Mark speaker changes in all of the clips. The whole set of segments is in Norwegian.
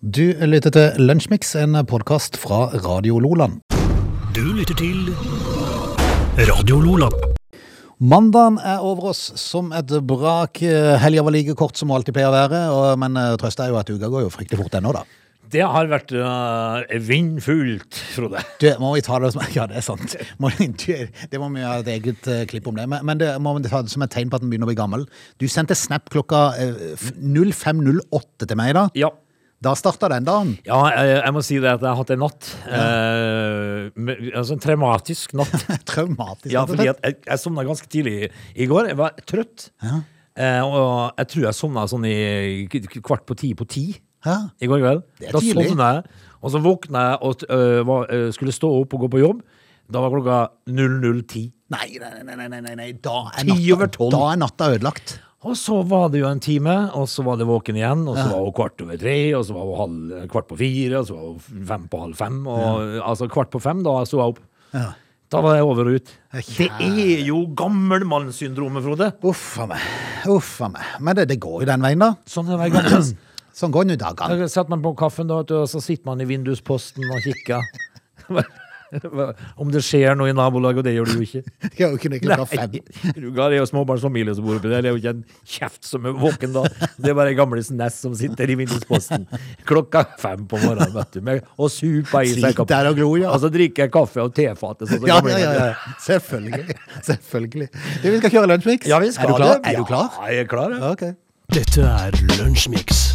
Speaker 1: Du lytter til Lunsjmix, en podkast fra Radio Loland.
Speaker 2: Du lytter til Radio Lola.
Speaker 1: Mandagen er over oss som et brak. eh, Helga var like kort som hun alltid pleier å være, og, men eh, trøsta er jo at uka går jo fryktelig fort ennå, da.
Speaker 3: Det har vært øh, vindfullt, Frode.
Speaker 1: Du, må vi ta det som Ja, det er sant. Må, du, det må vi ha et eget eh, klipp om det. Men, men det må vi ta det som et tegn på at den begynner å bli gammel. Du sendte snap klokka eh, f- 05.08 til meg i dag.
Speaker 3: Ja.
Speaker 1: Da starta den dagen.
Speaker 3: ja, jeg jeg må si det at jeg har hatt en natt. eh, med- altså en traumatisk natt.
Speaker 1: Traumatisk. rett
Speaker 3: Ja,
Speaker 1: og
Speaker 3: fordi
Speaker 1: slett.
Speaker 3: at jeg, jeg sovna ganske tidlig i- i går. Jeg var trøtt. Eh, og jeg tror jeg sovna sånn i k- k- kvart på ti på ti
Speaker 1: Hæ?
Speaker 3: i går kveld.
Speaker 1: Det er
Speaker 3: Da
Speaker 1: tidlig.
Speaker 3: sovna jeg, og så våkna jeg og øh, var, øh, skulle stå opp og gå på jobb. Da var klokka 00.10.
Speaker 1: Nei, nei, nei, nei, nei, nei, nei. Da, er
Speaker 3: Ti over
Speaker 1: natta,
Speaker 3: tolv.
Speaker 1: da er natta ødelagt.
Speaker 3: Og så var det jo en time, og så var det våken igjen, og så var hun kvart over tre, og så var hun halv, kvart på fire, og så var hun fem på halv fem, og altså kvart på fem, da sto jeg opp.
Speaker 1: Ja.
Speaker 3: Da var jeg over og ut. Det
Speaker 1: Kjære.
Speaker 3: er jo gammelmannssyndromet, Frode.
Speaker 1: Uff a meg. Uff a meg. Men det, det går jo den veien, da.
Speaker 3: Sånn er det gammel.
Speaker 1: Sånn går nå dagene.
Speaker 3: Da satt man på kaffen, da, vet du, og så sitter man i vindusposten og kikker. Om det skjer noe i nabolaget, og det gjør det jo ikke.
Speaker 1: Det er jo ikke noe klokka fem.
Speaker 3: Rugar er jo småbarnsfamilie som bor oppi der. Det er jo ikke en kjeft som er våken da. Det er bare gamlesen Næss som sitter i vindusposten klokka fem på morgenen vet du, med, og super i seg
Speaker 1: Sitter der og glor, ja.
Speaker 3: Og så drikker jeg kaffe og tefatet. sånn
Speaker 1: Ja,
Speaker 3: som
Speaker 1: ja,
Speaker 3: gamlingen
Speaker 1: ja,
Speaker 3: gjør.
Speaker 1: ja. Selvfølgelig. Selvfølgelig. Du, vi skal kjøre lunsjmix.
Speaker 3: Ja, vi skal
Speaker 1: er du klar?
Speaker 3: det.
Speaker 1: Er du klar?
Speaker 3: Ja, jeg er klar. Ja.
Speaker 1: Ok.
Speaker 2: Dette er Lunsjmix.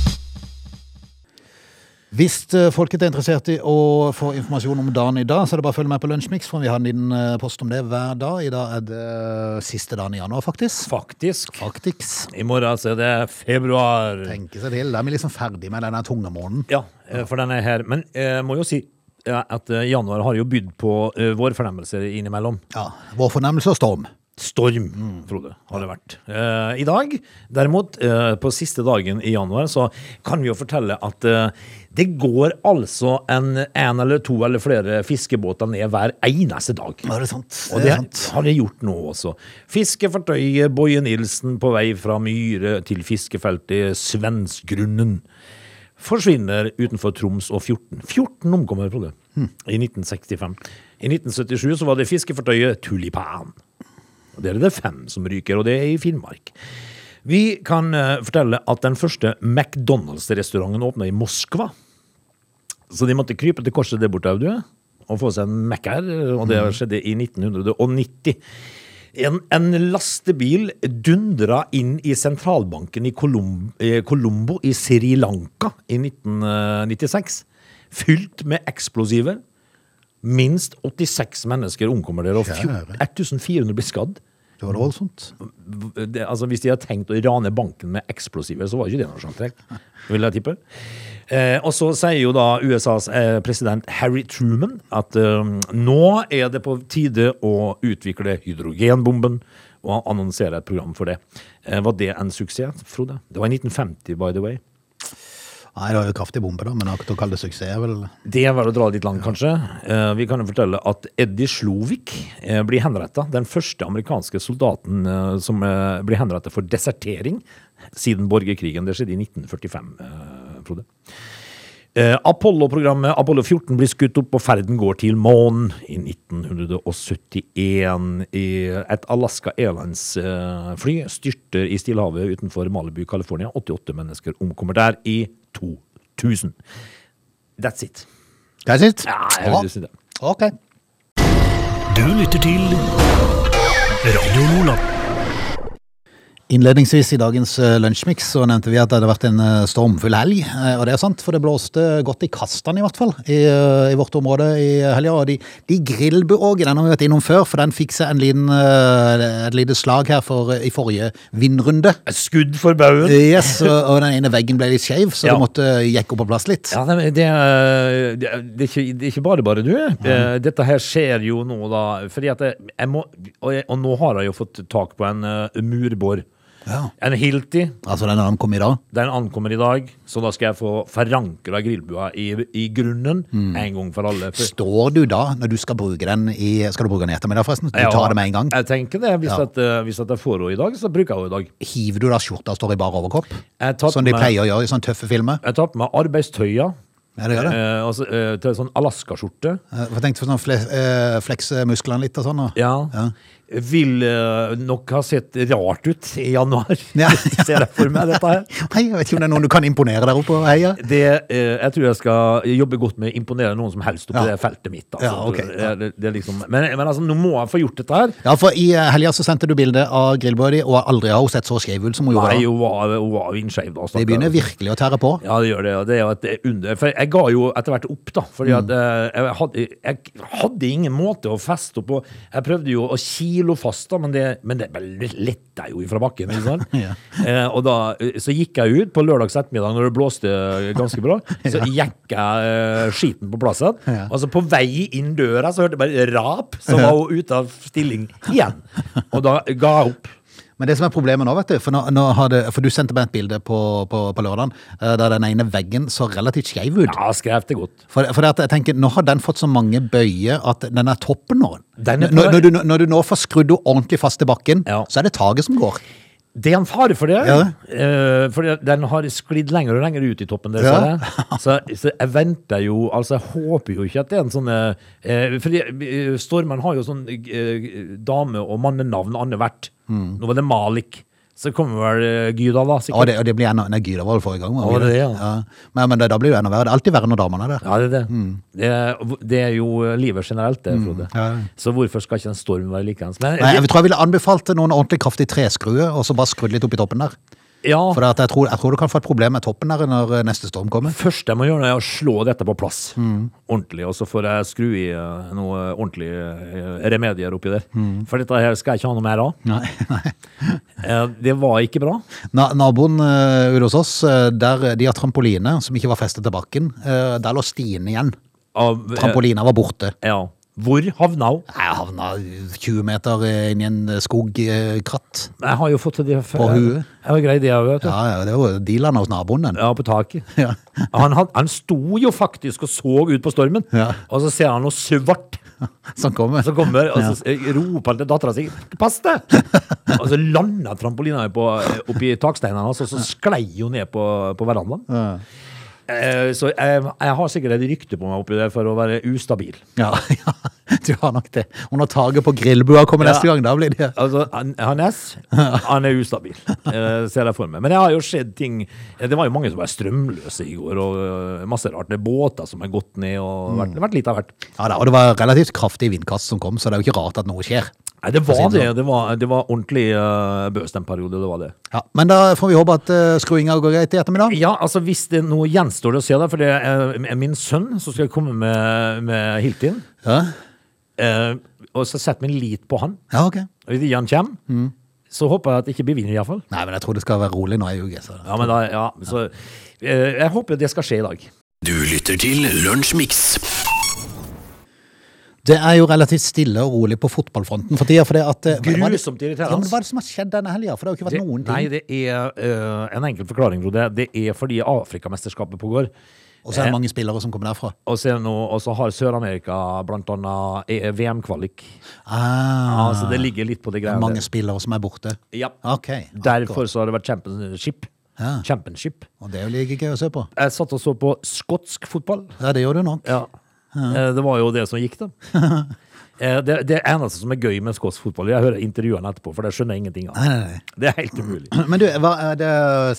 Speaker 1: Hvis eh, folket er interessert i å få informasjon om dagen i dag, så er det bare å følge med på Lunsjmix, for vi har en liten eh, post om det hver dag. I dag er det eh, siste dagen i januar, faktisk.
Speaker 3: Faktisk.
Speaker 1: Faktiks.
Speaker 3: I morgen så er det februar.
Speaker 1: Tenke seg til. Da er vi liksom ferdig med denne tungemånen.
Speaker 3: Ja, eh, for den er her. Men jeg må jo si eh, at eh, januar har jo bydd på eh, vårfornemmelser innimellom.
Speaker 1: Ja. Vår fornemmelse og storm.
Speaker 3: Storm, Frode, har det vært. Eh, I dag, derimot, eh, på siste dagen i januar, så kan vi jo fortelle at eh, det går altså en, en eller to eller flere fiskebåter ned hver eneste dag.
Speaker 1: Ja, det er sant.
Speaker 3: Og
Speaker 1: Det
Speaker 3: det
Speaker 1: er sant.
Speaker 3: har det gjort nå også. Fiskefartøyet Boje Nilsen på vei fra Myre til fiskefeltet Svensgrunnen forsvinner utenfor Troms og 14. 14 omkommer, Frode,
Speaker 1: Hm.
Speaker 3: i 1965. I 1977 så var det fiskefartøyet Tulipan. Og Der er det fem som ryker, og det er i Finnmark. Vi kan eh, fortelle at den første McDonald's-restauranten åpna i Moskva. Så de måtte krype til korset der borte, Audun, og få seg en Mac-er. Og det skjedde i 1990. En, en lastebil dundra inn i sentralbanken i Colom- eh, Colombo i Sri Lanka i 1996. Fylt med eksplosiver. Minst 86 mennesker omkommer der, og fjor-
Speaker 1: Kjære.
Speaker 3: 1400 blir skadd.
Speaker 1: Det var det voldsomt.
Speaker 3: V- det, altså Hvis de hadde tenkt å rane banken med eksplosiver, så var ikke det noe sånt trekk. Vil jeg tippe. Eh, og så sier jo da USAs eh, president Harry Truman at eh, nå er det på tide å utvikle hydrogenbomben, og han annonserer et program for det. Eh, var det en suksess, Frode? Det var i 1950, by the way.
Speaker 1: Nei, det var jo kraftig bombe, da, men akkurat å kalle det suksess er vel
Speaker 3: Det var å dra litt langt, kanskje. Eh, vi kan jo fortelle at Eddie Slovik eh, blir henretta. Den første amerikanske soldaten eh, som eh, blir henretta for desertering siden borgerkrigen. Det skjedde i 1945, eh, Frode. Eh, Apollo-programmet Apollo 14 blir skutt opp, og ferden går til månen i 1971. I et Alaska Airlines-fly styrter i Stillehavet utenfor Malibu, California. 88 mennesker omkommer der i 2000. That's it.
Speaker 1: That's it?
Speaker 3: Ja, jeg vil si det.
Speaker 1: Ok.
Speaker 2: Du lytter til Radio Lola.
Speaker 1: Innledningsvis i dagens eh, Lunsjmix så nevnte vi at det hadde vært en eh, stormfull helg. eh, Og det er sant, for det blåste godt i kastene i hvert fall i, eh, i vårt område i helga. Og de, de grillbuågene, den har vi vært innom før, for den fikk seg en liten, eh, et lite slag her for, eh, i forrige vindrunde.
Speaker 3: Et skudd for baugen.
Speaker 1: Yes, og, og den ene veggen ble litt skeiv, så
Speaker 3: Ja.
Speaker 1: du måtte eh, jekke opp på plass litt.
Speaker 3: Ja, nei, men det, er- det, er- det, er ikke, det er ikke bare bare, du. Eh, Dette her skjer jo nå, da. Fordi at jeg, jeg må, og, jeg, og nå har jeg jo fått tak på en eh, murbår.
Speaker 1: Ja.
Speaker 3: En Hilti.
Speaker 1: Altså den han kom i dag.
Speaker 3: Den ankommer i dag, så da skal jeg få forankra grillbua i, i grunnen
Speaker 1: Mm.
Speaker 3: en gang for alle. For,
Speaker 1: Står du da, når du skal bruke den i Skal du bruke den i ettermiddag, forresten? Du
Speaker 3: Ja,
Speaker 1: tar det med en gang.
Speaker 3: Jeg tenker det. Hvis,
Speaker 1: Ja.
Speaker 3: at, eh, hvis at jeg får henne i dag, så bruker jeg henne i dag.
Speaker 1: Hiver du da skjorta og står i bar overkropp?
Speaker 3: Jeg tar på
Speaker 1: Som Sånn de
Speaker 3: meg-
Speaker 1: pleier å gjøre i sånne tøffe filmer?
Speaker 3: Jeg tar på meg arbeidstøya.
Speaker 1: Ja, det gjør det.
Speaker 3: Eh, altså, eh, til sånn Alaska-skjorte.
Speaker 1: Eh, Jeg tenkte på sånn fle eh, flekse musklene litt og sånn. Og.
Speaker 3: Ja.
Speaker 1: Ja.
Speaker 3: Vil eh, nok ha sett rart ut i januar.
Speaker 1: Ja.
Speaker 3: Ser jeg for meg dette her.
Speaker 1: Nei, jeg vet ikke om det er noen du kan imponere der oppe og heie.
Speaker 3: Det, eh, jeg tror jeg skal jobbe godt med å imponere noen som helst
Speaker 1: Ja.
Speaker 3: oppe i det feltet mitt. Altså.
Speaker 1: Ja, ok, ja.
Speaker 3: det, det er liksom, men, men altså, nå må jeg få gjort dette her.
Speaker 1: Ja, for i eh, helga så sendte du bilde av grillbua di, og aldri har hun sett så skeiv ut som hun gjorde
Speaker 3: Nei,
Speaker 1: da.
Speaker 3: hun var, hun var altså. vindskeiv da.
Speaker 1: Det
Speaker 3: stakkar.
Speaker 1: begynner virkelig å tære på.
Speaker 3: Ja, det gjør det. Og det er jo et under. For jeg ga jo etter hvert opp, da. Fordi at eh, jeg, hadde, jeg hadde ingen måte å feste opp på. Jeg prøvde jo å kilo fast, da, men det, men det bare letta jo ifra bakken. Ikke sant? eh, og da, eh, så gikk jeg ut på lørdags ettermiddag når det blåste ganske bra. Så gikk jeg eh, skiten på plass igjen.
Speaker 1: Ja.
Speaker 3: Og så på vei inn døra så hørte jeg bare rap, så var hun ute av stilling igjen. Og da ga jeg opp.
Speaker 1: Men det som er problemet nå, vet du, for, nå, nå har det, for du sendte meg et bilde på, på, på lørdagen eh, der den ene veggen så relativt skeiv ut.
Speaker 3: Ja, skrev det godt.
Speaker 1: For, for det at jeg tenker, nå har den fått så mange bøyer at den er toppen nå.
Speaker 3: Den er på
Speaker 1: når,
Speaker 3: vei.
Speaker 1: når, du, når du nå får skrudd henne ordentlig fast til bakken,
Speaker 3: Ja.
Speaker 1: så er det taget som går.
Speaker 3: Det er en fare for det.
Speaker 1: Ja.
Speaker 3: eh, for den har sklidd lenger og lenger ut i toppen. Der,
Speaker 1: Ja.
Speaker 3: ser jeg. så, så jeg venter jo Altså, jeg håper jo ikke at det er en sånn eh, For eh, Stormen har jo sånn eh, dame- og mannenavn annethvert. Nå var det Malik. Så kommer vel eh, Gyda, da.
Speaker 1: Og
Speaker 3: sikkert.
Speaker 1: Mm. det, og det blir enda Nei, Gyda var det forrige gang. var
Speaker 3: Ja, det er det,
Speaker 1: Men, men det, da blir det enda verre. Det er alltid verre når damene er der.
Speaker 3: Ja, det er det. Det, er, det er jo livet generelt, det, Frode.
Speaker 1: Mm. Ja.
Speaker 3: Så hvorfor skal ikke en storm være likeens? Men-
Speaker 1: Nei, jeg tror jeg ville anbefalt noen ordentlig kraftig treskruer, og så bare skrudd litt opp i toppen der.
Speaker 3: ja.
Speaker 1: For det at jeg, tror, jeg tror du kan få et problem med toppen der når eh, neste storm kommer.
Speaker 3: første jeg må gjøre, er å slå dette på plass
Speaker 1: Mm.
Speaker 3: ordentlig. Og så får jeg skru i eh, noe ordentlig eh, remedier oppi der.
Speaker 1: Mm.
Speaker 3: For dette her skal jeg ikke ha noe mer av.
Speaker 1: Nei, nei.
Speaker 3: Eh, Det var ikke bra.
Speaker 1: Na, naboen eh, ute hos oss, eh, der de har trampoline som ikke var festet til bakken, eh, der lå Stine igjen.
Speaker 3: Av, eh,
Speaker 1: Trampolina var borte.
Speaker 3: Ja. Hvor havna hun?
Speaker 1: Jeg havna 20 meter inn i en eh, skogkratt.
Speaker 3: Jeg har jo fått det før.
Speaker 1: På huet?
Speaker 3: Jeg har greid det, jeg, vet du.
Speaker 1: Ja, ja, det var dealerne hos naboen, den.
Speaker 3: Ja, på taket.
Speaker 1: Ja.
Speaker 3: Han, had- han sto jo faktisk og så ut på stormen,
Speaker 1: Ja.
Speaker 3: og så ser han noe svart
Speaker 1: Som kommer.
Speaker 3: som kommer, og så s- roper han til dattera si 'pass deg'! Og så landa trampolina på, eh, oppi taksteinene hans, og så sklei hun ned på, på verandaen.
Speaker 1: Ja.
Speaker 3: Eh, Så jeg, jeg har sikkert et rykte på meg oppi der for å være ustabil.
Speaker 1: Ja, ja, du har nok det. Og når taket på grillbua kommer
Speaker 3: Ja.
Speaker 1: neste gang, da blir det
Speaker 3: Altså, han, han er s- han er ustabil, eh, ser jeg for meg. Men det har jo skjedd ting eh, Det var jo mange som var strømløse i går, og eh, masse rart. Det er båter som er gått ned, og vært, det har vært litt av hvert.
Speaker 1: Ja da, og det var relativt kraftig vindkast som kom, så det er jo ikke rart at noe skjer.
Speaker 3: Nei, det var
Speaker 1: For å si
Speaker 3: det.
Speaker 1: det
Speaker 3: Det var, det var ordentlig eh, bøst en periode, det var det.
Speaker 1: Ja, Men da får vi håpe at uh, skruinga går greit i ettermiddag.
Speaker 3: Ja, altså hvis det nå gjenstår det å se, da, for det er er min sønn som skal komme med, med Hiltin,
Speaker 1: Ja,
Speaker 3: eh, og så setter min lit på han.
Speaker 1: ja ok.
Speaker 3: Og Hvis ikke han kommer,
Speaker 1: Mm.
Speaker 3: så håper jeg at det ikke blir vinner, iallfall.
Speaker 1: Nei, men jeg tror det skal være rolig nå i uke. Så.
Speaker 3: Ja, men da, ja, så, eh, jeg håper det skal skje i dag.
Speaker 2: Du lytter til Lunsjmix.
Speaker 1: Det er jo relativt stille og rolig på fotballfronten for tida. For det at, eh, hva- hva-
Speaker 3: Grusomt irriterende.
Speaker 1: Ja, men hva er det som har skjedd denne helga? For det har jo ikke vært
Speaker 3: Det,
Speaker 1: noen
Speaker 3: nei,
Speaker 1: ting.
Speaker 3: det er eh, en enkel forklaring, Frode. Det er fordi Afrikamesterskapet pågår.
Speaker 1: Og så er det mange spillere som kommer derfra.
Speaker 3: Og så, er det nå- og så har Sør-Amerika blant annet eh, VM-kvalik.
Speaker 1: Ah,
Speaker 3: Ja, så det ligger litt på det greia
Speaker 1: mange spillere som er borte.
Speaker 3: der. Ja.
Speaker 1: Ok.
Speaker 3: Derfor så har det vært championship.
Speaker 1: Ja.
Speaker 3: championship.
Speaker 1: Og det er jo like gøy å se på.
Speaker 3: Jeg satt og så på skotsk fotball.
Speaker 1: Ja, det gjør du nok.
Speaker 3: Ja. Eh, Det var jo det som gikk, da. Eh, Det, det eneste som er gøy med skotsk fotball, jeg hører intervjuene etterpå, for det skjønner jeg ingenting av.
Speaker 1: Nei, nei, nei.
Speaker 3: Det er helt umulig.
Speaker 1: Men du, hva er det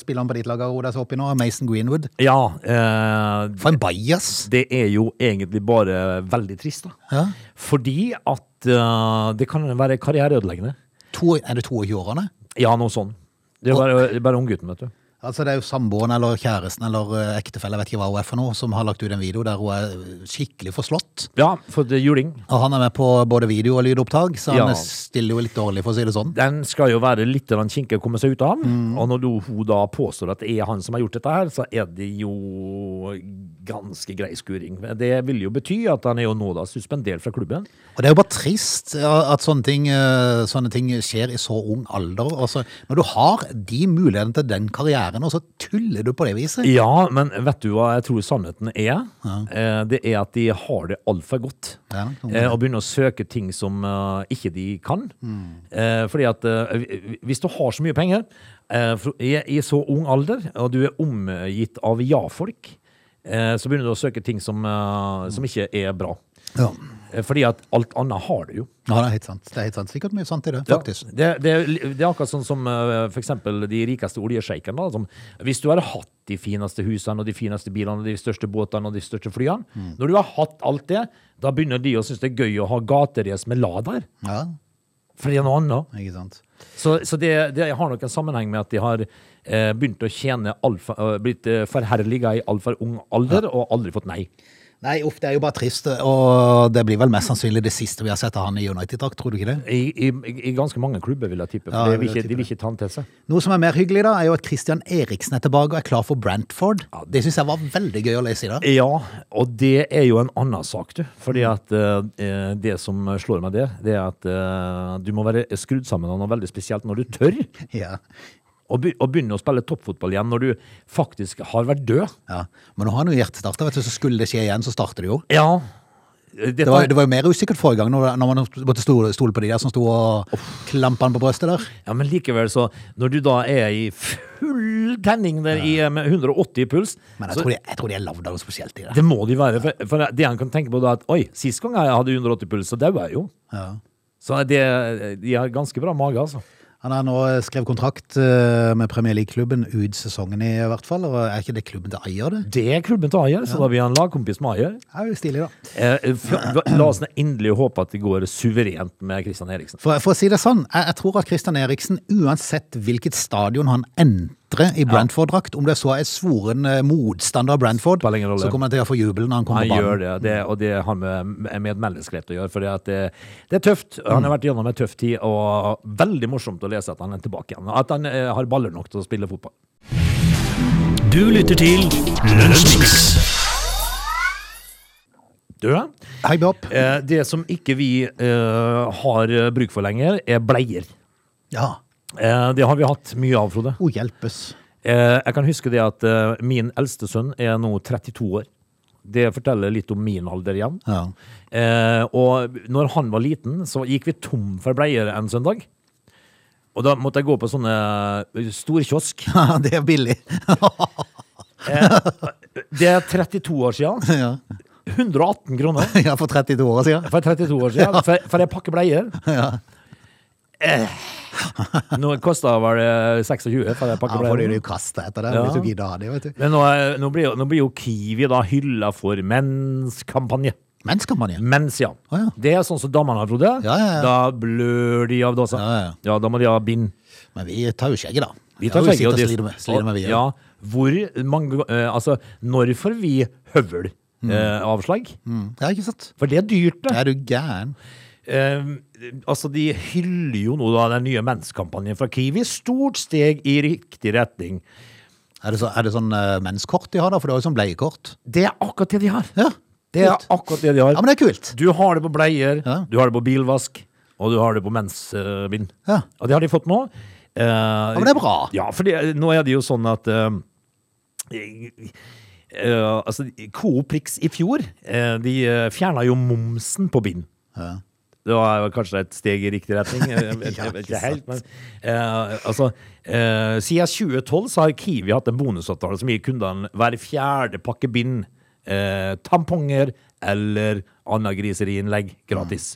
Speaker 1: spilleren på ditt lag har roet seg opp i nå? Mason Greenwood?
Speaker 3: Ja, eh,
Speaker 1: For en bajas!
Speaker 3: det er jo egentlig bare veldig trist, da.
Speaker 1: Ja.
Speaker 3: Fordi at eh, det kan være karriereødeleggende.
Speaker 1: To, er det 22-årene?
Speaker 3: Ja, noe sånn. Det er bare, det er bare unggutten, vet du.
Speaker 1: Altså, det er jo samboeren eller kjæresten eller eh, ektefelle, jeg vet ikke hva hun er for noe, som har lagt ut en video der hun er eh, skikkelig forslått.
Speaker 3: Ja, for det er juling.
Speaker 1: Og han er med på både video- og lydopptak, så han
Speaker 3: Ja.
Speaker 1: eh, stiller jo litt dårlig, for å si det sånn.
Speaker 3: Den skal jo være litt grann kinkig å komme seg ut av. Og når du, hun da påstår at det er han som har gjort dette her, så er det jo ganske grei skuring. Det vil jo bety at han er jo nå da suspendert fra klubben.
Speaker 1: Og det er jo bare trist ja, at sånne ting, eh, sånne ting skjer i så ung alder. Altså, når du har de mulighetene til den karrieren, og så tuller du på det viset.
Speaker 3: Ja, men vet du hva jeg tror sannheten er? Eh, Det er at de har det altfor godt.
Speaker 1: Ja, sånn.
Speaker 3: Eh, Og begynner å søke ting som eh, ikke de kan. Eh, Fordi at eh, hvis du har så mye penger eh, for- i i så ung alder, og du er omgitt av ja-folk, eh, så begynner du å søke ting som, eh, som ikke er bra.
Speaker 1: Ja,
Speaker 3: Eh, Fordi at alt annet har du jo.
Speaker 1: ja det er helt sant. Det er helt sant. Sikkert mye sant i det,
Speaker 3: Ja,
Speaker 1: faktisk.
Speaker 3: Det, det, det er akkurat sånn som eh, for eksempel de rikeste oljesjeikene. da, som- Hvis du hadde hatt de fineste husene og de fineste bilene og de største båtene og de største flyene, når du har hatt alt det, da begynner de å synes det er gøy å ha gaterace med Ladaer.
Speaker 1: Ja,
Speaker 3: For det er noe annet.
Speaker 1: ikke sant.
Speaker 3: Så, så det, det har nok en sammenheng med at de har eh, begynt å tjene alfa, eh, blitt eh, forherliga i altfor ung alder og aldri fått nei.
Speaker 1: Nei, uff, det er jo bare trist, og det blir vel mest sannsynlig det siste vi har sett av han i United-drakt, tror du ikke det?
Speaker 3: I, i, I ganske mange klubber, vil jeg tippe.
Speaker 1: Ja,
Speaker 3: For det
Speaker 1: jeg
Speaker 3: vil
Speaker 1: vil
Speaker 3: ikke,
Speaker 1: tippe
Speaker 3: de vil
Speaker 1: det.
Speaker 3: ikke ta den til seg.
Speaker 1: Noe som er mer hyggelig da, er jo at Christian Eriksen er tilbake og er klar for Brantford.
Speaker 3: Ja, det-
Speaker 1: Det synes jeg var veldig gøy å lese i dag.
Speaker 3: Ja, og det er jo en annen sak, du. Fordi
Speaker 1: Mm.
Speaker 3: at eh, det som slår meg det, det er at eh, du må være skrudd sammen av noe veldig spesielt når du tør
Speaker 1: Ja.
Speaker 3: å, be å begynne å spille toppfotball igjen når du faktisk har vært død.
Speaker 1: ja. Men nå har han jo hjertestarter, vet du, så skulle det skje igjen, så starter det jo.
Speaker 3: Ja.
Speaker 1: Det
Speaker 3: Dette,
Speaker 1: var, det var jo mer usikkert forrige gang, når, når man måtte stole, stole på de der som sto og klampa han på brøstet der.
Speaker 3: Ja, men likevel, så når du da er i full tenning der i, eh, med 180 i puls
Speaker 1: Men jeg
Speaker 3: så,
Speaker 1: tror de, jeg tror de er lagd av noe spesielt i det.
Speaker 3: Det må de være. For, for det han kan tenke på da, at oi, sist gang jeg hadde 180 puls, så daua jeg jo.
Speaker 1: Ja.
Speaker 3: Så det, de har ganske bra mage, altså.
Speaker 1: Han har nå skrevet kontrakt eh, med Premier League-klubben ut sesongen i hvert fall, og er ikke det klubben til eier det?
Speaker 3: Det er klubben til Ajer, så da blir han lagkompis med Ajer.
Speaker 1: Det er jo stilig da.
Speaker 3: Eh, for- la oss nå endelig håpe at det går suverent med Christian Eriksen.
Speaker 1: For, for å si det sånn, jeg, jeg tror at Christian Eriksen, uansett hvilket stadion han entrer i Brantford-drakt, om det så er svoren eh, motstander av Brantford,
Speaker 3: Spiller ingen rolle.
Speaker 1: så kommer han til å få jubel når han kommer
Speaker 3: Han
Speaker 1: på
Speaker 3: gjør
Speaker 1: banen.
Speaker 3: det, det og det har med, med menneskelighet å gjøre. For det, det er tøft. Han har vært gjennom en tøff tid, og veldig morsomt å lese at han er tilbake igjen. At han eh, har baller nok til å spille fotball.
Speaker 2: Du lytter til Lunsjmix.
Speaker 3: Du, ja.
Speaker 1: Hei, Bjopp.
Speaker 3: eh, det som ikke vi eh, har eh, bruk for lenger, er bleier.
Speaker 1: Ja.
Speaker 3: Eh, det har vi hatt mye av, Frode.
Speaker 1: Å, hjelpes.
Speaker 3: Eh, jeg kan huske det at eh, min eldste sønn er nå 32 år. Det forteller litt om min alder igjen.
Speaker 1: Ja.
Speaker 3: Eh, og når han var liten, så gikk vi tom for bleier en søndag. Og da måtte jeg gå på sånne eh, storkiosk. Eh,
Speaker 1: det er billig.
Speaker 3: Det er 32 år siden.
Speaker 1: ja.
Speaker 3: 118 kroner
Speaker 1: ja, for 32 år siden.
Speaker 3: for 32 år siden, for, for jeg pakker bleier. Eh, nå kosta vel eh, 26 for jeg
Speaker 1: Ja,
Speaker 3: pakker
Speaker 1: for det
Speaker 3: bleier.
Speaker 1: er jo kastet etter det,
Speaker 3: Ja.
Speaker 1: hvis du gidder ha det, vet du.
Speaker 3: Men nå, er- nå, blir, jo- nå blir jo Kiwi da hylla for menskampanje.
Speaker 1: Men skal man igjen.
Speaker 3: Mens, ja.
Speaker 1: Å, ja.
Speaker 3: Det er sånn som damene har, Frode.
Speaker 1: Ja, ja, ja.
Speaker 3: Da blør de av dåsa.
Speaker 1: Ja, ja, ja.
Speaker 3: da må de ha bind.
Speaker 1: Men vi tar jo skjegget, da.
Speaker 3: Vi tar
Speaker 1: ja,
Speaker 3: skjegget
Speaker 1: og
Speaker 3: det-
Speaker 1: sliter med, sliter med vi,
Speaker 3: ja. Hvor mange eh, Altså, når får vi høvel? Eh, avslag?
Speaker 1: Mm. Ja, ikke sant?
Speaker 3: For det er dyrt, det.
Speaker 1: Er du gæren?
Speaker 3: Eh, altså, de hyller jo nå da den nye menskampanjen fra Kiwi. Stort steg i riktig retning.
Speaker 1: Er det, så, er det sånn eh, menskort de har, da? For det er jo sånn bleiekort.
Speaker 3: Det er akkurat det de har.
Speaker 1: Ja,
Speaker 3: Det er
Speaker 1: kult.
Speaker 3: akkurat det de har.
Speaker 1: Ja, men det er kult.
Speaker 3: Du har det på bleier,
Speaker 1: Ja.
Speaker 3: du har det på bilvask, og du har det på mensbind.
Speaker 1: Ja.
Speaker 3: Og det har de fått nå. Eh,
Speaker 1: men det er bra.
Speaker 3: Ja, for det, nå er det jo sånn at eh, eh, altså, Coop Prix i fjor eh, De eh, fjerna jo momsen på bind.
Speaker 1: Ja.
Speaker 3: Det var vel kanskje et steg i riktig retning. Jeg vet- jeg vet
Speaker 1: Ja, ikke
Speaker 3: ikke helt, men eh, altså, eh, Siden 2012 så har Kiwi hatt en bonusavtale som gir kundene hver fjerde pakke bind, eh, tamponger eller annet griseriinnlegg gratis.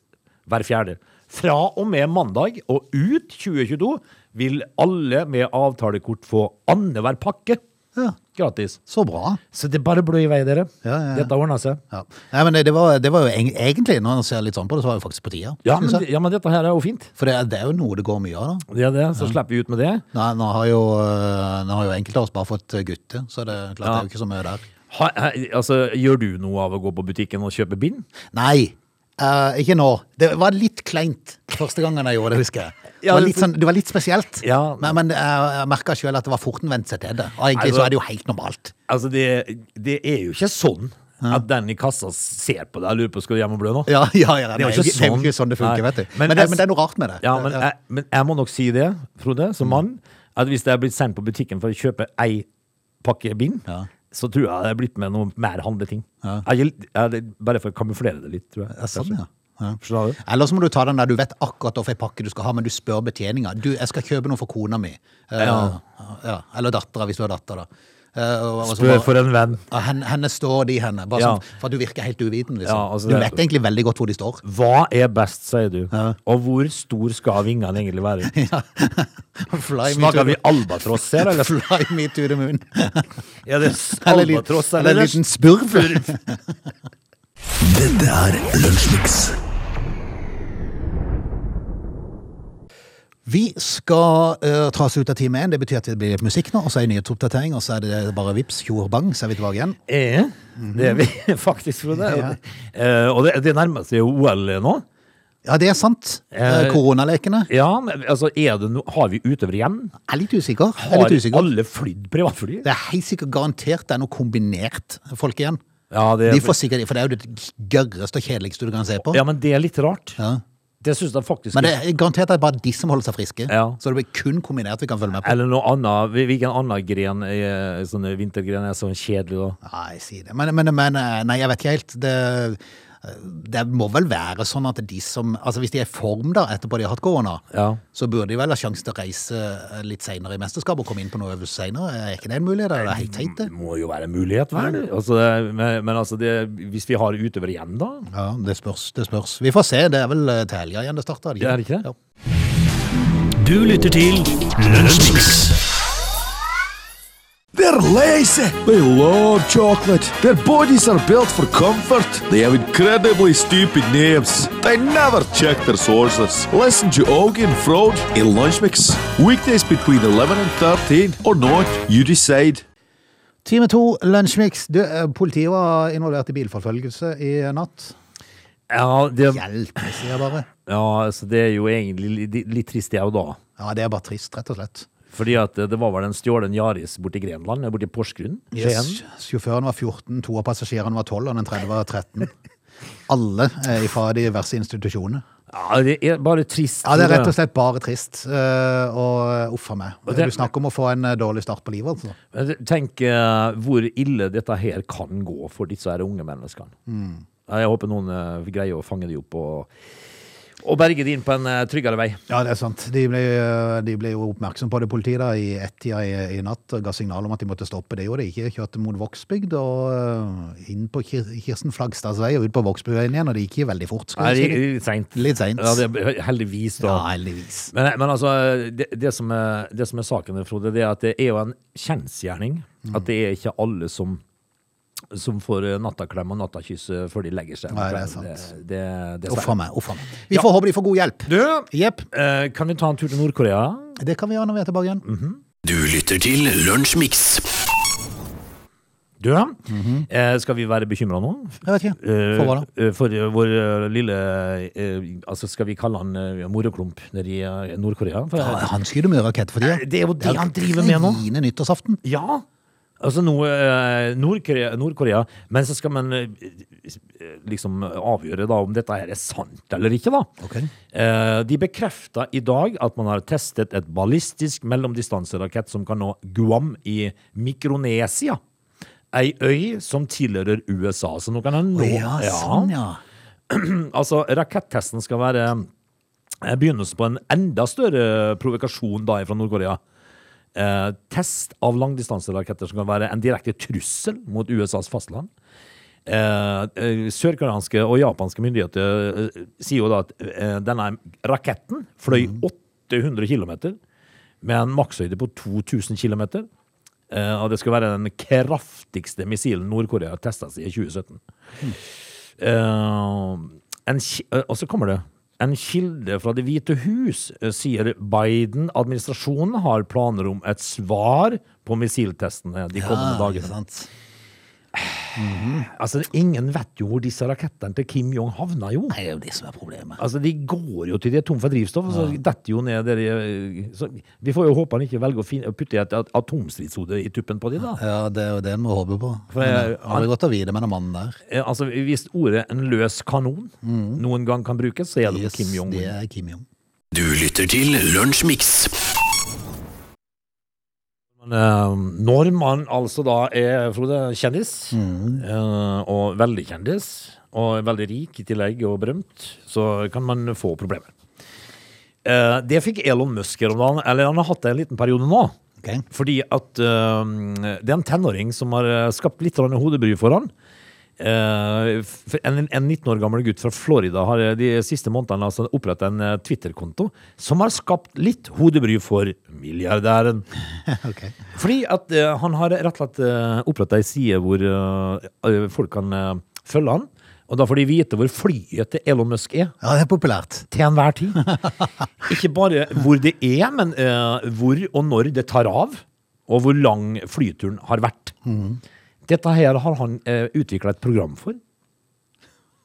Speaker 3: Hver fjerde. Fra og med mandag og ut 2022 vil alle med avtalekort få annenhver pakke
Speaker 1: Ja.
Speaker 3: gratis.
Speaker 1: Så bra.
Speaker 3: Så det er bare blå i vei, dere.
Speaker 1: Ja, ja, ja.
Speaker 3: Dette ordner seg.
Speaker 1: Ja. Nei, men det, det, var, det var jo eng- egentlig, når man ser litt sånn på det, så var det faktisk på tida.
Speaker 3: Ja
Speaker 1: synes
Speaker 3: men,
Speaker 1: jeg.
Speaker 3: ja, men dette her er jo fint.
Speaker 1: For det, er- det er jo noe det går mye av, da.
Speaker 3: Det er det, så slipper vi ut med det.
Speaker 1: Nei, nå har jo, eh, nå har jo enkelte av oss bare fått eh, gutter, så det er klart det
Speaker 3: Ja.
Speaker 1: er jo ikke så mye der.
Speaker 3: Ha, ha, altså, gjør du noe av å gå på butikken og kjøpe bind?
Speaker 1: Nei, eh, ikke nå. Det var litt kleint første gangen jeg gjorde det, husker jeg. Det var litt, sånn, det var litt spesielt,
Speaker 3: Ja.
Speaker 1: men, men eh, jeg, jeg merka sjøl at det var forten vent seg til det. Og egentlig så er det jo helt normalt.
Speaker 3: Altså, det, det er jo ikke sånn at den i kassa ser på deg og lurer på skal du hjem og blø nå.
Speaker 1: Ja, ja, ja,
Speaker 3: Det er jo
Speaker 1: nei,
Speaker 3: ikke
Speaker 1: det er jo
Speaker 3: sånn.
Speaker 1: ikke sånn det funker,
Speaker 3: Nei.
Speaker 1: vet du.
Speaker 3: Men
Speaker 1: Men, det,
Speaker 3: jeg-
Speaker 1: men det er noe rart med det.
Speaker 3: Ja, men
Speaker 1: Ja. Mm.
Speaker 3: jeg, men jeg må nok si det, Frode, som mann, at hvis jeg er blitt sendt på butikken for å kjøpe ei pakke bind,
Speaker 1: Ja.
Speaker 3: så tror jeg det er blitt med noe mer handleting. Jeg, jeg, det- bare for å kamuflere det litt, tror jeg.
Speaker 1: Ja, sånn, ja. Ja.
Speaker 3: Skjønner du?
Speaker 1: Eller så må du ta den der du vet akkurat hvilken pakke du skal ha, men du spør betjeninga. Du, 'Jeg skal kjøpe noe for kona mi.' Eh,
Speaker 3: Ja.
Speaker 1: ja. Eller dattera, hvis du har datter, da. Eh, og- og så
Speaker 3: Spør
Speaker 1: bare-
Speaker 3: for en venn.
Speaker 1: Ja, Henne, henne står de henne, bare
Speaker 3: Ja.
Speaker 1: sånn, for at du virker helt uviten. Liksom.
Speaker 3: Ja, altså
Speaker 1: du
Speaker 3: det-
Speaker 1: vet egentlig veldig godt hvor de står.
Speaker 3: Hva er best, sier du? Og hvor stor skal vingene egentlig være?
Speaker 1: Fly me, to
Speaker 3: Snakker vi
Speaker 1: the,
Speaker 3: albatross her, eller?
Speaker 1: fly me to the moon.
Speaker 3: Er det
Speaker 1: Eller, litt-
Speaker 3: albatross,
Speaker 1: eller
Speaker 3: eller?
Speaker 1: en liten spurv.
Speaker 2: Dette er Lunsjmix.
Speaker 1: Vi skal eh, ta oss ut av time én. Det betyr at det blir litt musikk nå, og så er det nyhetsoppdatering, og så er det bare vips, tjo og bang, så er vi tilbake igjen.
Speaker 3: Ja, det er vi faktisk, Frode.
Speaker 1: Mhm. Ja.
Speaker 3: Eh, og det, det nærmer seg jo OL nå.
Speaker 1: Ja, det er sant. Eh,
Speaker 3: Eh,
Speaker 1: Koronalekene.
Speaker 3: Ja, men altså, er det no har vi utøvere igjen?
Speaker 1: Jeg er litt usikker. Jeg er
Speaker 3: Har
Speaker 1: litt usikker.
Speaker 3: alle flydd privatfly?
Speaker 1: Det er helt sikkert garantert det er noe kombinert folk igjen.
Speaker 3: Ja, det,
Speaker 1: De får sikkert, for det er jo det gørreste og kjedeligste du kan se på.
Speaker 3: ja, men det er litt rart.
Speaker 1: Ja.
Speaker 3: Det syns jeg faktisk
Speaker 1: Men det er garantert at bare de som holder seg friske.
Speaker 3: Ja.
Speaker 1: Så det blir kun kombinert vi kan følge med på.
Speaker 3: Eller noe annet. Hvil- Hvilken annen gren er, sånn vintergren er sånn kjedelig, da?
Speaker 1: Nei, si det. Men, men, men eh, nei, jeg vet ikke helt. Det, det må vel være sånn at de som Altså hvis de er i form da, etterpå de har hatt korona,
Speaker 3: Ja.
Speaker 1: så burde de vel ha sjanse til å reise eh, litt seinere i mesterskapet og komme inn på noe øvelse seinere. Er ikke det en mulighet? eller Er det helt teit, det?
Speaker 3: Det må jo være en mulighet, vel? Altså, det, men, men altså, det, hvis vi har utøvere igjen, da?
Speaker 1: Ja, det spørs. Det spørs. Vi får se. Det er vel eh, til helga igjen det starter.
Speaker 3: Ja, er det ikke det?
Speaker 1: Ja.
Speaker 2: Du lytter til Lunsjmix.
Speaker 4: They're lazy. They love chocolate. Their bodies are built for comfort. They have incredibly stupid names. They never check their sources. Listen to Augie and Frode in Lunch Mix. Weekdays between 11 and 13 or not, you decide.
Speaker 1: Time to, Lunsjmix. Du, eh, Politiet var involvert i bilforfølgelse i natt.
Speaker 3: Ja, det, ja
Speaker 1: Hjelp, sier jeg bare.
Speaker 3: altså, det er jo egentlig litt, litt trist, det òg, da.
Speaker 1: Ja, det er bare trist, rett og slett.
Speaker 3: Fordi at eh, det var vel en stjålen Yaris borti Grenland, borti Porsgrunn? Skien.
Speaker 1: Sjåføren var 14, to av passasjerene var 12, og den tredje var 13. Alle eh, fra diverse institusjoner.
Speaker 3: Ja, det er bare trist.
Speaker 1: Ja, det er rett og
Speaker 3: Frode.
Speaker 1: slett bare trist. eh, Og uff a meg.
Speaker 3: det-
Speaker 1: Du snakker om å få en eh, dårlig start på livet, altså.
Speaker 3: Men Tenk eh, hvor ille dette her kan gå for disse her unge menneskene.
Speaker 1: Mm.
Speaker 3: Jeg håper noen eh, greier å fange dem opp og, og berge dem inn på en eh, tryggere vei.
Speaker 1: Ja, det er sant. De ble, eh, de ble jo oppmerksom på det politiet da, i ett-tida i, i natt og ga signal om at de måtte stoppe. Det gjorde de ikke. Kjørte mot Vågsbygd og eh, inn på Kir Kirsten Flagstads vei og ut på Vågsbygdveien igjen, og det gikk jo veldig fort.
Speaker 3: Nei,
Speaker 1: Skal jeg si.
Speaker 3: litt seint.
Speaker 1: Litt sent.
Speaker 3: Ja, det er heldigvis, da.
Speaker 1: Ja, heldigvis.
Speaker 3: Men, men altså, det, det, som er, det som er saken, her, Frode, det er at det er jo en kjensgjerning
Speaker 1: Mm.
Speaker 3: at det er ikke alle som, som får eh, nattaklem og nattakyss eh, før de legger seg.
Speaker 1: Nei, det er sant.
Speaker 3: Det, det, det er
Speaker 1: Uff a meg. uff a meg. Vi
Speaker 3: Ja.
Speaker 1: får håpe de får god hjelp.
Speaker 3: Du,
Speaker 1: Jepp.
Speaker 3: eh, kan vi ta en tur til Nord-Korea?
Speaker 1: Det kan vi gjøre når vi er tilbake
Speaker 3: Mm.
Speaker 1: igjen.
Speaker 2: Du lytter til Lunsjmix.
Speaker 3: Du, eh, skal vi være bekymra nå?
Speaker 1: Jeg vet ikke.
Speaker 3: Eh,
Speaker 1: For hva da?
Speaker 3: eh, For eh, vår eh, lille eh, Altså, skal vi kalle han eh, moroklump nede i eh, Nord-Korea? For,
Speaker 1: Ja, han skyter mye raketter for tida.
Speaker 3: Det er jo det han driver med nå.
Speaker 1: Fine nyttårsaften.
Speaker 3: Ja! Altså noe eh, Nord-Korea, Nord-Korea. Men så skal man eh, eh, liksom avgjøre da om dette her er sant eller ikke, da.
Speaker 1: Ok.
Speaker 3: Eh, De bekrefta i dag at man har testet et ballistisk mellomdistanserakett som kan nå Guam i Mikronesia. Ei øy som tilhører USA. Så nå kan han nå
Speaker 1: Ja, sånn, ja.
Speaker 3: Altså, rakettesten skal være eh, begynnelsen på en enda større provokasjon da fra Nord-Korea. Eh, test av langdistanseraketter som kan være en direkte trussel mot USAs fastland. Eh, eh, Sørkoreanske og japanske myndigheter eh, sier jo da at eh, denne raketten fløy
Speaker 1: Mhm.
Speaker 3: 800 km med en makshøyde på 2000 km. Eh, og det skal være den kraftigste missilen Nord-Korea har testa siden 2017.
Speaker 1: Hm.
Speaker 3: Eh, en, ki- eh, og så kommer det En kilde fra Det hvite hus eh, sier Biden-administrasjonen har planer om et svar på missiltestene de
Speaker 1: Ja,
Speaker 3: kommende
Speaker 1: ikke
Speaker 3: dagene.
Speaker 1: sant.
Speaker 3: Altså, ingen vet jo hvor disse rakettene til Kim Jong havna, jo.
Speaker 1: Det er jo det som er problemet.
Speaker 3: Altså, De går jo til de er tom for drivstoff, og så detter jo ned der i- så Vi får jo håpe han ikke velger å fin- å putte i et at- atomstridshode i tuppen på de, da.
Speaker 1: Ja, det er jo det en må håpe på.
Speaker 3: For jeg-
Speaker 1: Men, Aldri godt å vite med den mannen der. Mm.
Speaker 3: Eh, Altså, Hvis ordet 'en løs kanon' noen gang kan brukes, så er det
Speaker 1: Yes,
Speaker 3: på Kim Jong-un.
Speaker 1: Det er Kim Jong.
Speaker 2: Du lytter til Lunsjmix.
Speaker 3: Men, eh, når man altså da er Frode,
Speaker 1: Mm.
Speaker 3: kjendis, eh, og veldig kjendis, og veldig rik i tillegg og berømt, så kan man få problemer. Eh, det fikk Elon Musk her om dagen, eller han har hatt det en liten periode nå.
Speaker 1: Ok.
Speaker 3: Fordi at eh, det er en tenåring som har eh, skapt litt grann hodebry for han. Eh, f- en, en 19 år gammel gutt fra Florida har eh, de siste månedene altså opprettet en eh, Twitter-konto som har skapt litt hodebry for milliardæren.
Speaker 1: Ok.
Speaker 3: Fordi at eh, han har rett og slett uh, oppretta ei side hvor eh, folk kan eh, følge han. Og da får de vite hvor flyet til Elon Musk er
Speaker 1: Ja, det er populært.
Speaker 3: til enhver tid. Ikke bare hvor det er, men eh, hvor og når det tar av, og hvor lang flyturen har vært. Dette her har han uh, utvikla et program for.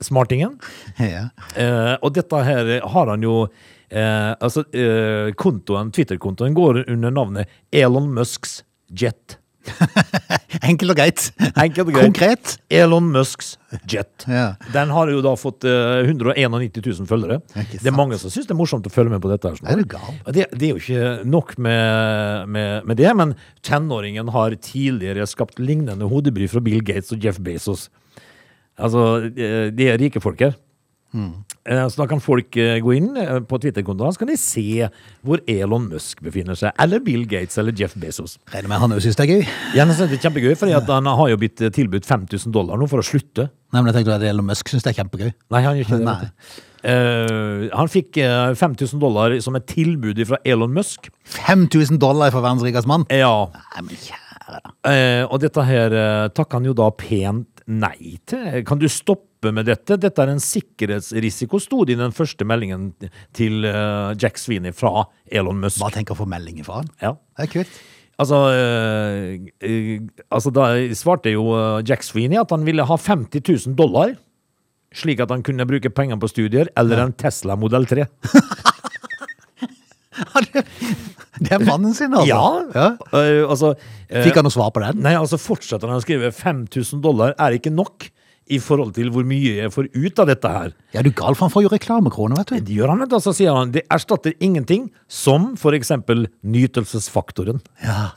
Speaker 3: Smartingen.
Speaker 1: Ja.
Speaker 3: Eh, og dette her har han jo eh, Altså, eh, kontoen, Twitter-kontoen går under navnet Elon Musks Jet.
Speaker 1: Enkelt og greit.
Speaker 3: Enkelt og greit.
Speaker 1: Konkret.
Speaker 3: Elon Musks Jet.
Speaker 1: Ja.
Speaker 3: Den har jo da fått eh, 191 000 følgere.
Speaker 1: Ikke
Speaker 3: Det er
Speaker 1: sant.
Speaker 3: mange som syns det er morsomt å følge med på dette. her sånn.
Speaker 1: Er du gal?
Speaker 3: Og Det, det er jo ikke nok med, med, med det, men tenåringen har tidligere skapt lignende hodebry fra Bill Gates og Jeff Bezos. Altså, eh, de er rike folk her.
Speaker 1: Mm.
Speaker 3: Eh, Så da kan folk eh, gå inn eh, på Twitter-kontoen hans, kan de se hvor Elon Musk befinner seg. Eller Bill Gates eller Jeff Bezos.
Speaker 1: Regner med han òg syns det er gøy.
Speaker 3: Jeg synes det er kjempegøy, for han har jo blitt eh, tilbudt 5000 dollar nå for å slutte.
Speaker 1: Nei, men jeg tenkte at Elon Musk syns det er kjempegøy.
Speaker 3: Nei, han gjør ikke det.
Speaker 1: Nei.
Speaker 3: vet du. Eh, han fikk eh, 5000 dollar som et tilbud fra Elon Musk.
Speaker 1: 5000 dollar for verdens rikeste mann!
Speaker 3: Ja,
Speaker 1: Nei, men kjære da.
Speaker 3: eh, Og dette her uh, takker han jo da pent nei til. Kan du stoppe med dette? Dette er en sikkerhetsrisiko, sto det i den første meldingen til eh, Jack Sweeney fra Elon Musk.
Speaker 1: Bare tenk å få meldinger fra han.
Speaker 3: Ja.
Speaker 1: Det er kult.
Speaker 3: Altså, eh, eh, altså Da svarte jo eh, Jack Sweeney at han ville ha 50 000 dollar, slik at han kunne bruke penger på studier eller en Tesla modell 3.
Speaker 1: Det er mannen sin, altså.
Speaker 3: Eh, altså eh,
Speaker 1: Fikk han noe svar på den?
Speaker 3: Nei, altså fortsetter han å skrive 5000 dollar er ikke nok i forhold til hvor mye jeg får ut av dette her.
Speaker 1: Ja, du er gal, for han får jo reklamekroner, vet du.
Speaker 3: Det gjør han ikke, altså, sier han. Det erstatter ingenting, som for eksempel nytelsesfaktoren.
Speaker 1: Ja.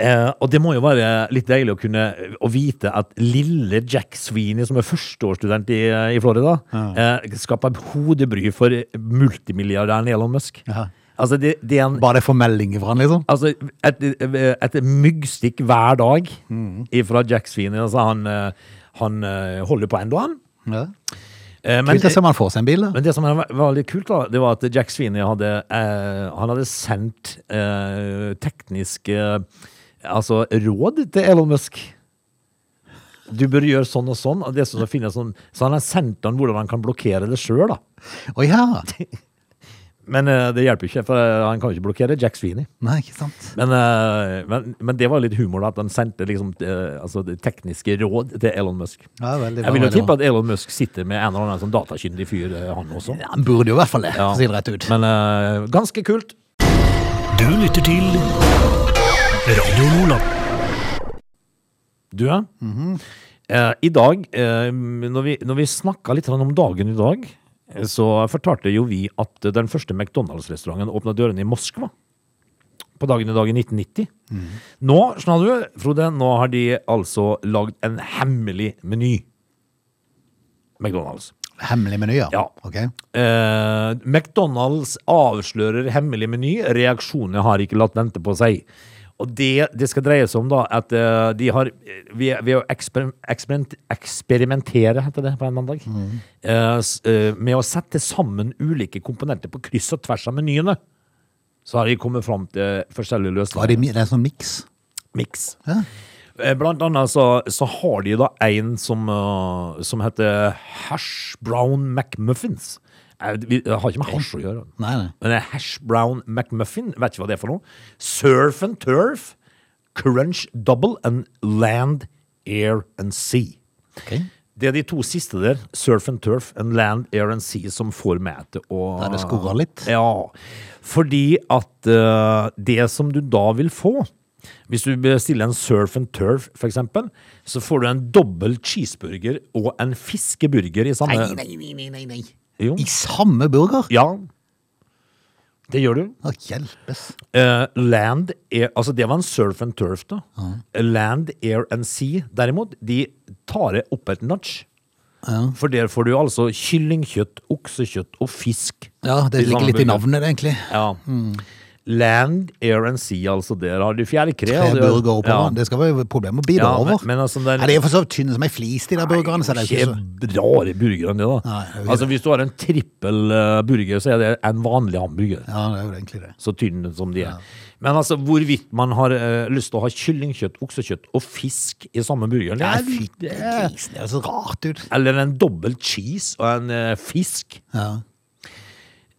Speaker 3: Eh, og det må jo være litt deilig å kunne å vite at lille Jack Sweeney, som er førsteårsstudent i, i Florida, eh, skaper hodebry for multimilliardæren Elon Musk.
Speaker 1: Ja.
Speaker 3: Altså, det, det er en
Speaker 1: Bare det får meldinger fra han, liksom.
Speaker 3: Altså, et, et myggstikk hver dag fra Jack Sweeney. Altså, han, eh, han eh, holder på ennå, han.
Speaker 1: Ja.
Speaker 3: Eh, Men,
Speaker 1: Kult å se om han får seg en bil, da.
Speaker 3: men det som var- var litt kult, da, det var at Jack Sweeney hadde, eh, han hadde sendt eh, tekniske altså, råd til Elon Musk. Du bør gjøre sånn og sånn. Og det som finnes sånn, så han har sendt han hvordan han kan blokkere det sjøl, da.
Speaker 1: Å ja!
Speaker 3: Men eh, det hjelper ikke, for eh, han kan jo ikke blokkere Jack Sweeney.
Speaker 1: Nei, ikke sant.
Speaker 3: Men, eh, men, men det var litt humor, da. At han sendte liksom, eh, altså, det tekniske råd til Elon Musk.
Speaker 1: Ja, veldig bra,
Speaker 3: jeg vil jo
Speaker 1: veldig
Speaker 3: tippe
Speaker 1: bra.
Speaker 3: at Elon Musk sitter med en eller annen sånn datakyndig fyr, eh, han også.
Speaker 1: Ja, han burde jo i hvert fall det, for
Speaker 3: Ja.
Speaker 1: å si det rett ut.
Speaker 3: Men eh, ganske kult.
Speaker 2: Du lytter til Radio Nordland.
Speaker 3: Du, ja. Eh, I dag, eh, når vi, når vi snakka litt om dagen i dag, eh, så fortalte jo vi at den første McDonald's-restauranten åpna dørene i Moskva. På dagen i dag i 1990. Nå, skjønner du, Frode, nå har de altså lagd en hemmelig meny. McDonald's.
Speaker 1: Hemmelig meny, ja.
Speaker 3: Ja.
Speaker 1: Ok.
Speaker 3: Eh, McDonald's avslører hemmelig meny. Reaksjonene har ikke latt vente på seg. Og det det skal dreie seg om, da, at eh, de har eh, Ved, ved å eksper, eksperiment, eksperimentere, heter det på en mandag, eh, s- eh, med å sette sammen ulike komponenter på kryss og tvers av menyene, så har de kommet fram til forskjellige
Speaker 1: Hva er
Speaker 3: løsninger.
Speaker 1: det, mi- det er en sånn miks?
Speaker 3: Mix.
Speaker 1: Ja.
Speaker 3: Eh, Blant annet så, så har de da en som, eh, som heter Hash Brown McMuffins. Eh, vi- Det har ikke med hasj å gjøre.
Speaker 1: Nei, nei.
Speaker 3: Men det er Hash Brown McMuffin, vet ikke hva det er for noe. Surf and Turf, Crunch Double and Land Air and Sea.
Speaker 1: Ok.
Speaker 3: Det er de to siste der, Surf and Turf and Land, Air and Sea, som får meg til å
Speaker 1: Da er det skorret litt.
Speaker 3: Ja. Fordi at eh, det som du da vil få Hvis du bestiller en Surf and Turf, for eksempel, så får du en dobbel cheeseburger og en fiskeburger i samme
Speaker 1: Nei, nei, nei, nei, nei, nei.
Speaker 3: Jo.
Speaker 1: I samme burger?
Speaker 3: Ja. Det gjør du.
Speaker 1: Å, hjelpes.
Speaker 3: Eh, land Air, altså Det var en surf and turf, da. Land, air and sea, derimot, de tar det opp et notch. For der får du altså kyllingkjøtt, oksekjøtt og fisk.
Speaker 1: Ja, det
Speaker 3: samme
Speaker 1: ligger litt i
Speaker 3: burger.
Speaker 1: navnet, Mm. det, egentlig.
Speaker 3: Ja. Land, air and sea, altså. Der har du fjærkre.
Speaker 1: Tre
Speaker 3: og du har-
Speaker 1: burger oppover.
Speaker 3: Ja.
Speaker 1: Det skal være problem å bidra
Speaker 3: Ja, men-
Speaker 1: over.
Speaker 3: men altså, det er-
Speaker 1: Nei, de er for så vidt tynne som ei flis, de der burgerne. Så det er jo ikke så...
Speaker 3: Ikke rare burgere enn det, da.
Speaker 1: Nei, det er jo ikke
Speaker 3: altså Hvis du har en trippel eh, burger, så er det en vanlig hamburger.
Speaker 1: Ja, det er jo egentlig det.
Speaker 3: så tynne som de er. Men altså, hvorvidt man har eh, lyst til å ha kyllingkjøtt, oksekjøtt og fisk i samme burger det
Speaker 1: Nei,
Speaker 3: er-
Speaker 1: fytti grisen, det er så rart ut.
Speaker 3: Eller en dobbel cheese og en eh, fisk.
Speaker 1: Ja.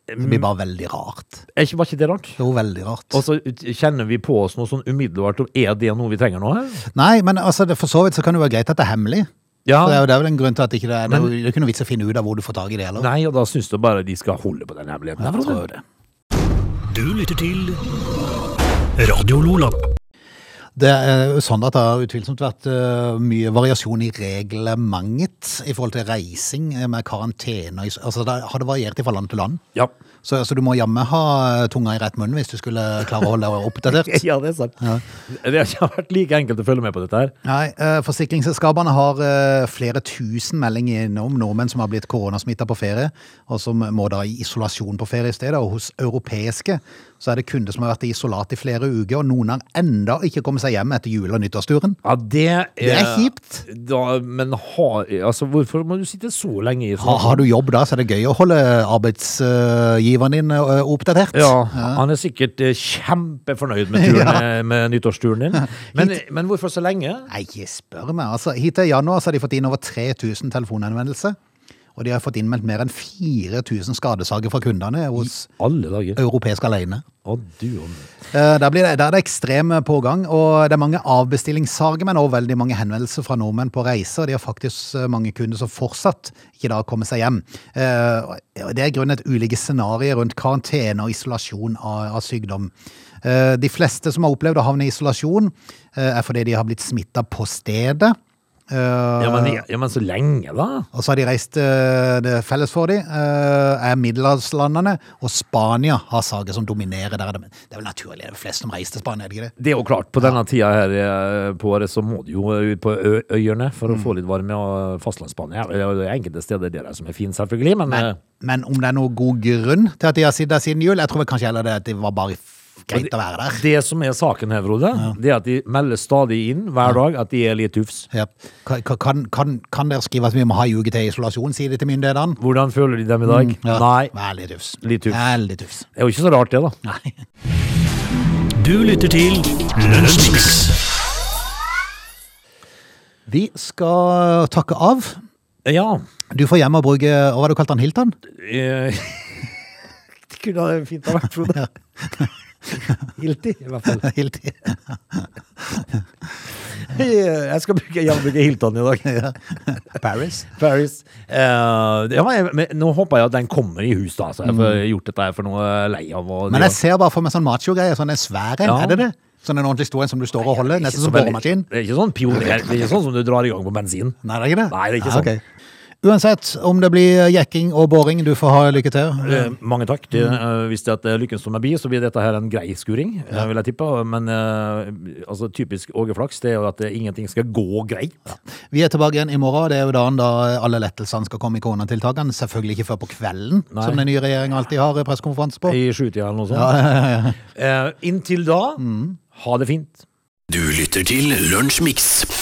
Speaker 1: Det blir bare veldig rart.
Speaker 3: Er ikke, var ikke det rart?
Speaker 1: Jo, veldig rart.
Speaker 3: Og så ut- kjenner vi på oss noe sånn umiddelbart om er det noe vi trenger nå her?
Speaker 1: Nei, men altså, det, for så vidt så kan det være greit at det er hemmelig.
Speaker 3: Ja.
Speaker 1: For Det er jo det er vel en grunn til at ikke det er Det er jo- det er ikke noe vits å finne ut av hvor du får tak i det heller.
Speaker 3: Nei, og da syns du bare de skal holde på den hemmeligheten.
Speaker 1: Jeg
Speaker 3: Frode.
Speaker 1: tror det.
Speaker 2: Du lytter til Radio Lola.
Speaker 1: Det er jo sånn at det har utvilsomt vært eh, mye variasjon i reglementet i forhold til reising eh, med karantene. Altså, det har det variert fra land til land.
Speaker 3: Ja.
Speaker 1: Så altså, du må jammen ha eh, tunga i rett munn hvis du skulle klare å holde deg oppdatert.
Speaker 3: ja, det er sant. Det har ikke vært like enkelt å følge med på dette her.
Speaker 1: Nei, eh, Forsikringsselskapene har eh, flere tusen meldinger innom nordmenn som har blitt koronasmitta på ferie, og som må da i isolasjon på ferie i stedet. Og hos europeiske så er det kunder som har vært i isolat i flere uker, og noen har enda ikke kommet seg hjem etter jul- og nyttårsturen.
Speaker 3: Ja, det er,
Speaker 1: Det er kjipt.
Speaker 3: Da, men har, altså, hvorfor må du sitte så lenge i sånn-
Speaker 1: Har, har du jobb da, så er det gøy å holde arbeidsgiveren din eh, oppdatert.
Speaker 3: Ja, han er sikkert eh, kjempefornøyd med, turen, eh, med nyttårsturen din. Men, men hvorfor så lenge?
Speaker 1: Nei, ikke spør meg. Altså, hittil i januar så har de fått inn over 3000 telefonanvendelser. Og de har fått innmeldt mer enn 4000 skadesaker fra kundene hos
Speaker 3: Alle dager.
Speaker 1: europeisk alene.
Speaker 3: Å, du om det.
Speaker 1: Eh, Der, blir det, der er det ekstrem pågang, og det er mange avbestillingssaker, men også veldig mange henvendelser fra nordmenn på reise, og de har faktisk eh, mange kunder som fortsatt ikke da kommer seg hjem. Eh, og Det er i grunnen et ulike scenarier rundt karantene og isolasjon av, av sykdom. Eh, De fleste som har opplevd å havne i isolasjon, eh, er fordi de har blitt smitta på stedet. Eh,
Speaker 3: Ja, men, ja, men så lenge, da?
Speaker 1: og så har de reist eh, det er felles for de, eh, er middelhavslandene, og Spania har saker som dominerer der. er det- Det er vel naturlig, det er flest som reiser til Spania, er det ikke det?
Speaker 3: Det er jo klart, på denne tida her eh, på året så må du jo ut på ø- øyene for å få litt varme. Og fastlandsbane her, det er jo enkelte steder der som er fine, selvfølgelig, men,
Speaker 1: Men,
Speaker 3: eh,
Speaker 1: men om det er noe god grunn til at de har sittet der siden jul, jeg tror vel kanskje heller det at det var bare f- greit å være der.
Speaker 3: det som er saken her, Frode, det er at de melder stadig inn hver dag at de er litt tufs.
Speaker 1: Ja. Ka- ka- Kan, kan, kan dere skrive at vi må ha en uke til isolasjon, sier de til myndighetene?
Speaker 3: Hvordan føler de dem i dag?
Speaker 1: Ja.
Speaker 3: Nei.
Speaker 1: Vær litt tufs.
Speaker 3: Litt tufs.
Speaker 1: Vær litt tufs.
Speaker 3: Det er jo ikke så rart, det, da.
Speaker 1: Nei.
Speaker 2: Du lytter til Lunsjmix.
Speaker 1: Vi skal takke av.
Speaker 3: Ja.
Speaker 1: Du får hjem og bruke, hva var det du kalte han, Hilton?
Speaker 3: Eh, Det kunne det fint ha vært, Frode. Hilti, i hvert fall.
Speaker 1: Hilti.
Speaker 3: Jeg skal bruke, jeg bruker Hilton i dag.
Speaker 1: Ja. Paris.
Speaker 3: Paris. Eh, ja, men, jeg- men, nå håper jeg at den kommer i hus, da, så jeg får gjort dette her for noe jeg er lei av. å
Speaker 1: Mm. Men jeg
Speaker 3: drive-
Speaker 1: ser bare for meg sånn macho-greier, sånn en svær en,
Speaker 3: Ja.
Speaker 1: er det det? Sånn en ordentlig stor en som du står og holder,
Speaker 3: Ikke
Speaker 1: nesten
Speaker 3: så
Speaker 1: som
Speaker 3: veldig-
Speaker 1: boremaskin?
Speaker 3: Det er ikke sånn pioner. Det er ikke sånn som du drar i gang på bensin.
Speaker 1: Nei, det er ikke det?
Speaker 3: Nei, det er ikke
Speaker 1: Ja,
Speaker 3: sånn.
Speaker 1: ok. Uansett om det blir jekking og boring, du får ha lykke til.
Speaker 3: Eh, mange takk. Det,
Speaker 1: Mm.
Speaker 3: eh, hvis det er lykken som er bi, så blir dette her en grei skuring, eh, vil jeg tippe. Men eh, altså, typisk Åge Flaks det er jo at eh, ingenting skal gå greit.
Speaker 1: Vi er tilbake igjen i morgen, det er jo dagen da alle lettelsene skal komme i koronatiltakene. Selvfølgelig ikke før på kvelden,
Speaker 3: Nei.
Speaker 1: som den nye regjeringen alltid har pressekonferanse på.
Speaker 3: i sjutida eller noe sånt. Eh, inntil da, ha det fint.
Speaker 2: Du lytter til Lunsjmix.